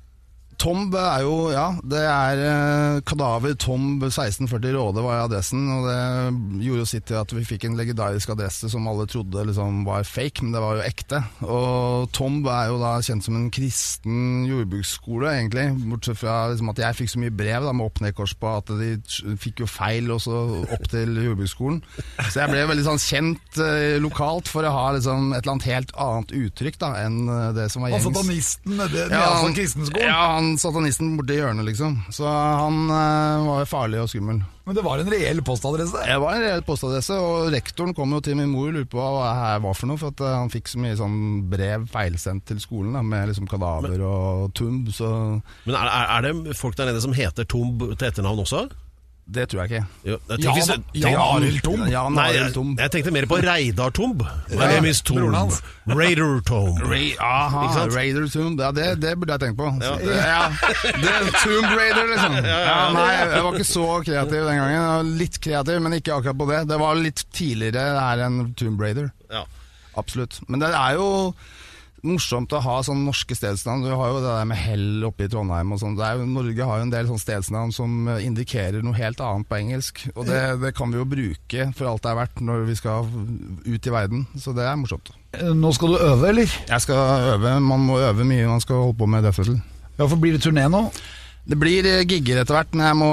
F: Tomb er jo, ja, det er eh, kadaver Tomb 1640 Råde var adressen, og det gjorde jo sitt til at vi fikk en legendarisk adresse som alle trodde liksom var fake, men det var jo ekte. Og Tomb er jo da kjent som en kristen jordbruksskole, egentlig, bortsett fra liksom at jeg fikk så mye brev da, med oppnedkors på at de t- fikk jo feil og så opp til jordbruksskolen. Så jeg ble veldig sånn kjent eh, lokalt for å ha liksom et eller annet helt annet uttrykk da, enn eh, det som var
A: Han
F: gjengs.
A: satanisten nede nede på kristenskolen.
F: Ja, han satanisten borti hjørnet, liksom. Så han eh, var jo farlig og skummel.
A: Men det var en reell postadresse.
F: Jeg var en reell postadresse, og rektoren kom jo til min mor og lurte på hva det her var for noe, for at eh, han fikk så mye sånn brev feilsendt til skolen da, med liksom kadaver og tomb, så
B: Men er, er- er det folk der nede som heter Tomb til etternavn også?
F: det tror jeg ikke.
B: Jo, jeg
A: Jan-
B: tenker, hvis-
A: Jan Arild Tomb?
F: Jan
B: Nei,
F: Arild
B: jeg,
F: Tomb.
B: jeg tenkte mer på Reidar Tomb. My name is
A: broren
B: Tomb.
A: hans.
B: Raider Tomb.
F: Aha,
B: Ikke sant?
F: Raider Tomb, ja, det, det burde jeg tenkt på.
B: Ja.
F: Det, ja. det er Tomb Raider, liksom. Ja, nei, jeg var ikke så kreativ den gangen. Jeg var litt kreativ, men ikke akkurat på det. Det var litt tidligere her enn Tomb Raider.
B: Ja.
F: Absolutt. Men det er jo morsomt å ha sånne norske stedsnavn. Du har jo det der med hell oppe i Trondheim og sånn. Det er jo- Norge har jo en del sånne stedsnavn som eh, indikerer noe helt annet på engelsk. Og det, det kan vi jo bruke for alt det er verdt når vi skal ut i verden. Så det er morsomt.
A: Eh, Nå skal du øve, eller?
F: Jeg skal øve. Man må øve mye når man skal holde på med Death Metal.
A: Ja, for blir det turné nå?
F: Det blir eh, gigger etter hvert, men jeg må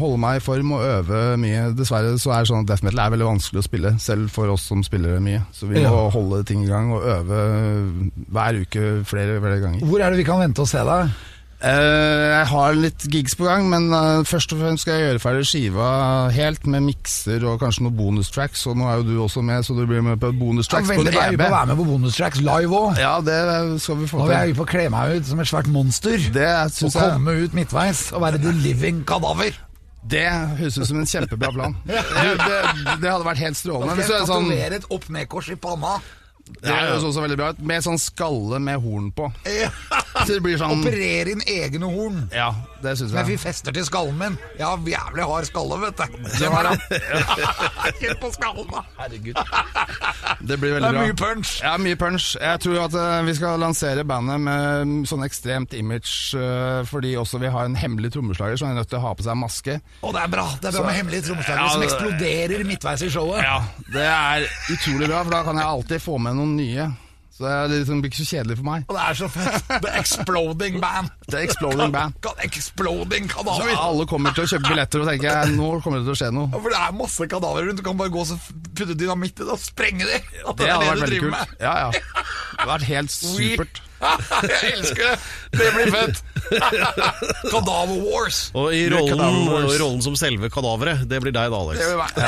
F: holde meg i form og øve mye. Dessverre så er det sånn at death metal er veldig vanskelig å spille, selv for oss som spiller det mye. Så vi må
A: Ja.
F: holde ting i gang og øve eh, hver uke flere, flere ganger.
A: Hvor er det vi kan vente å se deg?
F: Eh, jeg har litt gigs på gang, men eh, først og fremst skal jeg gjøre ferdig skiva helt, med mikser og kanskje noen bonustracks. Og nå er jo du også med, så du blir med på
A: Jeg er
F: bonustracks på
A: veldig
F: en
A: ærlig
F: EB.
A: på å være med på bonustracks live òg.
F: Ja, det skal vi få
A: Da vil
F: til.
A: jeg på å kle meg ut som et svært monster.
F: Det
A: og
F: syns jeg
A: komme ut midtveis og være the living kadaver.
F: Det høres ut som en kjempebra plan. Du, det, det hadde vært helt strålende.
A: Jeg
F: Hvis du er sånn,
A: tatoverer et opp-ned-kors i panna.
F: det høres også veldig bra ut. Med sånn skalle med horn på. Så det blir sånn
A: Operere inn egne horn.
F: Ja, det syns
A: Men vi
F: jeg.
A: fester til skallen min. Jeg har jævlig hard skalle, vet du.
F: Det, var, det.
A: Kjenn på skallen, da. Herregud.
F: det
A: Det
F: blir veldig
A: er
F: bra.
A: mye punch.
F: Ja, mye punch. Jeg tror at eh, vi skal lansere bandet med mm, sånn ekstremt image, eh, fordi også vi har en hemmelig trommeslager som er nødt til å ha på seg maske.
A: Og det er bra. Det er bra med hemmelige trommeslagere
F: Ja,
A: som
F: det-
A: eksploderer midtveis i showet.
F: Ja, det er utrolig bra, for da kan jeg alltid få med noen nye. Så det er liksom, det blir ikke så kjedelig for meg.
A: Og det er så fett. The Exploding Band.
F: Det er Exploding Band.
A: Ka- Exploding
F: Så
A: Kadaver.
F: alle kommer til å kjøpe billetter og tenke nå kommer det til å skje noe.
A: Ja, For det er masse kadaver rundt. Du kan bare gå og så f- putte dynamitt i det og sprenge det. At
F: Det hadde
A: du
F: vært veldig
A: driver
F: kult.
A: med.
F: Ja, ja. Det hadde vært helt supert.
A: Jeg elsker det. Det blir fett. Kadaver Wars.
B: Og i
F: You're
B: rollen,
F: Cadaver Wars.
B: og i rollen som selve kadaveret, det blir deg da, Alex.
A: Det vil være-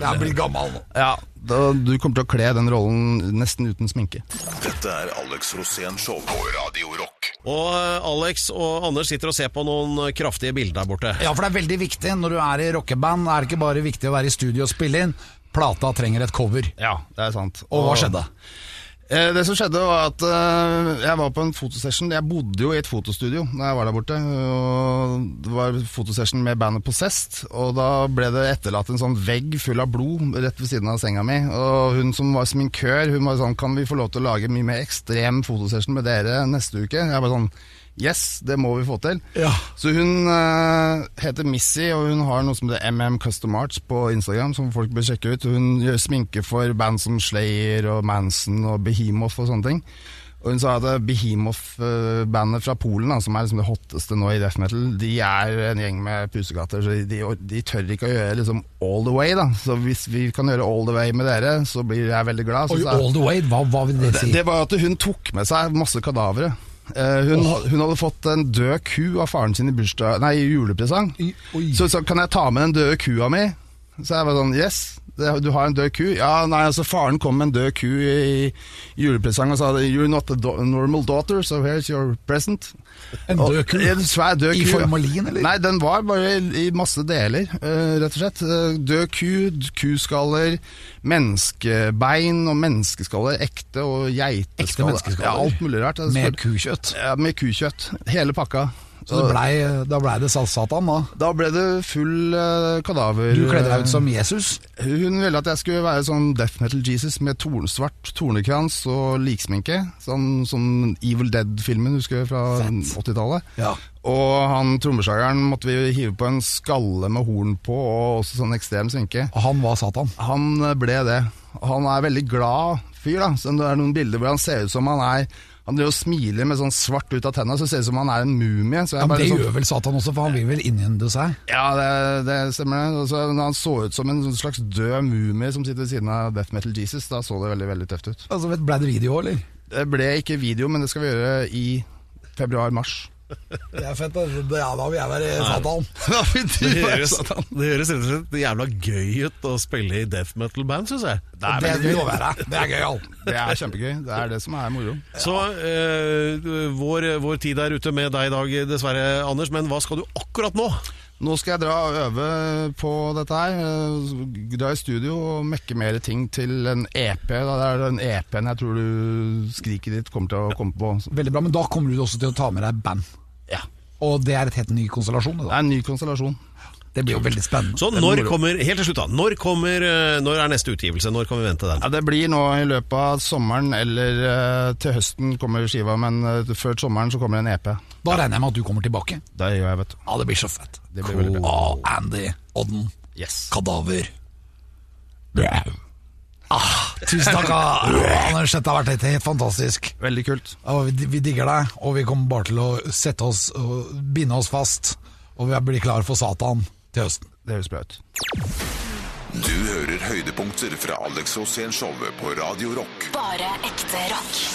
A: Ja, Jeg blir gammel nå.
F: Ja, da, Du kommer til å kle den rollen nesten uten sminke.
E: Dette er Alex Rosén Show på Radio Rock.
B: Og eh, Alex og Anders sitter og ser på noen eh, kraftige bilder der borte.
A: Ja, for det er veldig viktig når du er i rockeband. Er det ikke bare viktig å være i studio og spille inn? Plata trenger et cover.
F: Ja, det er sant.
A: Og hva skjedde?
F: Eh, Det som skjedde var at eh, jeg var på en fotosession. Jeg bodde jo i et fotostudio da jeg var der borte. Og det var fotosession med bandet Possessed. Og da ble det etterlatt en sånn vegg full av blod rett ved siden av senga mi. Og hun som var sminkør, hun var sånn Kan vi få lov til å lage mye mer ekstrem fotosession med dere neste uke? Jeg var sånn Yes, det må vi få til.
A: Ja.
F: Så hun eh, heter Missy, og hun har noe som heter MM Custom Arts på Instagram, som folk bør sjekke ut. Hun gjør sminke for band som Slayer og Manson og Behemoth og sånne ting. Og Og hun sa at Behemoth-bandet fra Polen, da, som er liksom det hotteste nå i death metal, de er en gjeng med pusekatter, så de, de tør ikke å gjøre liksom all the way. da. Så hvis vi kan gjøre all the way med dere, så blir jeg veldig glad. Så
A: Oi,
F: sa jeg-
A: all the way, hva, hva vil det si?
F: det var at hun tok med seg masse kadavere. Eh, hun, hun hadde fått en død ku av faren sin i, bursdag, nei, i julepresang.
A: I- oi.
F: Så hun sa kan jeg ta med den døde kua mi? Så jeg var sånn yes, det, du har en død ku? Ja, nei, altså faren kom med en død ku i, i julepresang og sa you're not a do normal daughter, so here's your present.
A: En
F: Og-
A: død ku?
F: En svær død ku.
A: I formalin, eller?
F: Nei, den var bare i i masse deler, eh, rett og slett. Eh, Død ku, d- kuskaller, menneskebein og menneskeskaller, ekte og geiteskaller.
A: menneskeskaller?
F: Ja, alt mulig rart. Altså, Det
A: Med
F: står-
A: kukjøtt.
F: Ja, med kukjøtt. Hele pakka.
A: Så det blei, da blei det salsatan, da.
F: Da ble det full eh, kadaver...
A: Du kledde deg ut som Jesus.
F: Hun ville at jeg skulle være sånn death metal Jesus med torn, svart tornekrans og liksminke. Sånn som Evil Dead-filmen, husker du, fra
A: Fett.
F: 80-tallet.
A: Ja.
F: Og han trommeslageren måtte vi hive på en skalle med horn på, og også sånn ekstrem sminke.
A: Og han var Satan.
F: Han ble det. Han er veldig glad fyr, da. Så det er noen bilder hvor han ser ut som han er Han driver og smiler med sånn svart ut av tenna, så det ser ut som han er en mumie. Så jeg
A: Ja, men
F: bare
A: det
F: sånn-
A: gjør vel Satan også, for han vil vel innynde seg.
F: ja, det, det stemmer. det. Altså, når han så ut som en sånn slags død mumie som sitter ved siden av Death Metal Jesus, da så det veldig veldig tøft ut.
A: Altså, vet- Blei det video, eller?
F: Det ble ikke video, men det skal vi gjøre i februar-mars.
A: Det er fett, da. Ja, da vil jeg være Satan.
B: Det høres, det høres rett og slett jævla gøy ut å spille i death metal-band, syns jeg.
A: Det vil jeg være. Det er altså. gøyal.
F: Det er kjempegøy. Det er det som er moro.
B: Så eh, vår, vår tid er ute med deg i dag, dessverre, Anders. Men hva skal du akkurat nå?
F: Nå skal jeg dra og øve på dette her. Eh, Dra i studio og mekke mer ting til en EP. Da. Det er den EP-en jeg tror du skriket ditt kommer til å komme på.
A: Veldig bra, men da kommer du også til å ta med deg band.
F: Ja.
A: Og det er et helt ny konstellasjon.
F: Det
A: Det,
F: er en ny konstellasjon.
A: da. det blir jo veldig spennende.
B: Så Sånn, når kommer, helt til slutt da, når, kommer, eh, når er neste utgivelse? Når kan vi vente den?
F: Ja, Det blir nå i løpet av sommeren eller eh, til høsten kommer skiva, men eh, før sommeren så kommer en EP.
A: Da regner jeg med at du kommer tilbake.
F: Det gjør jeg, vet du.
A: Ja, det blir så fett.
F: Det blir veldig bra.
A: Ah, Andy, Odden,
F: Yes.
A: Kadaver. Blæh. Ah, tusen takk, ah, Anders. Dette har vært helt- helt fantastisk.
F: Veldig kult.
A: Ja, vi, vi digger deg, og vi kommer bare til å sette oss og binde oss fast. Og vi blir klar for Satan til høsten.
F: Det høres bra ut.
E: Du hører høydepunkter fra Alex Rosén-showet på Radio Rock.
G: Bare ekte rock.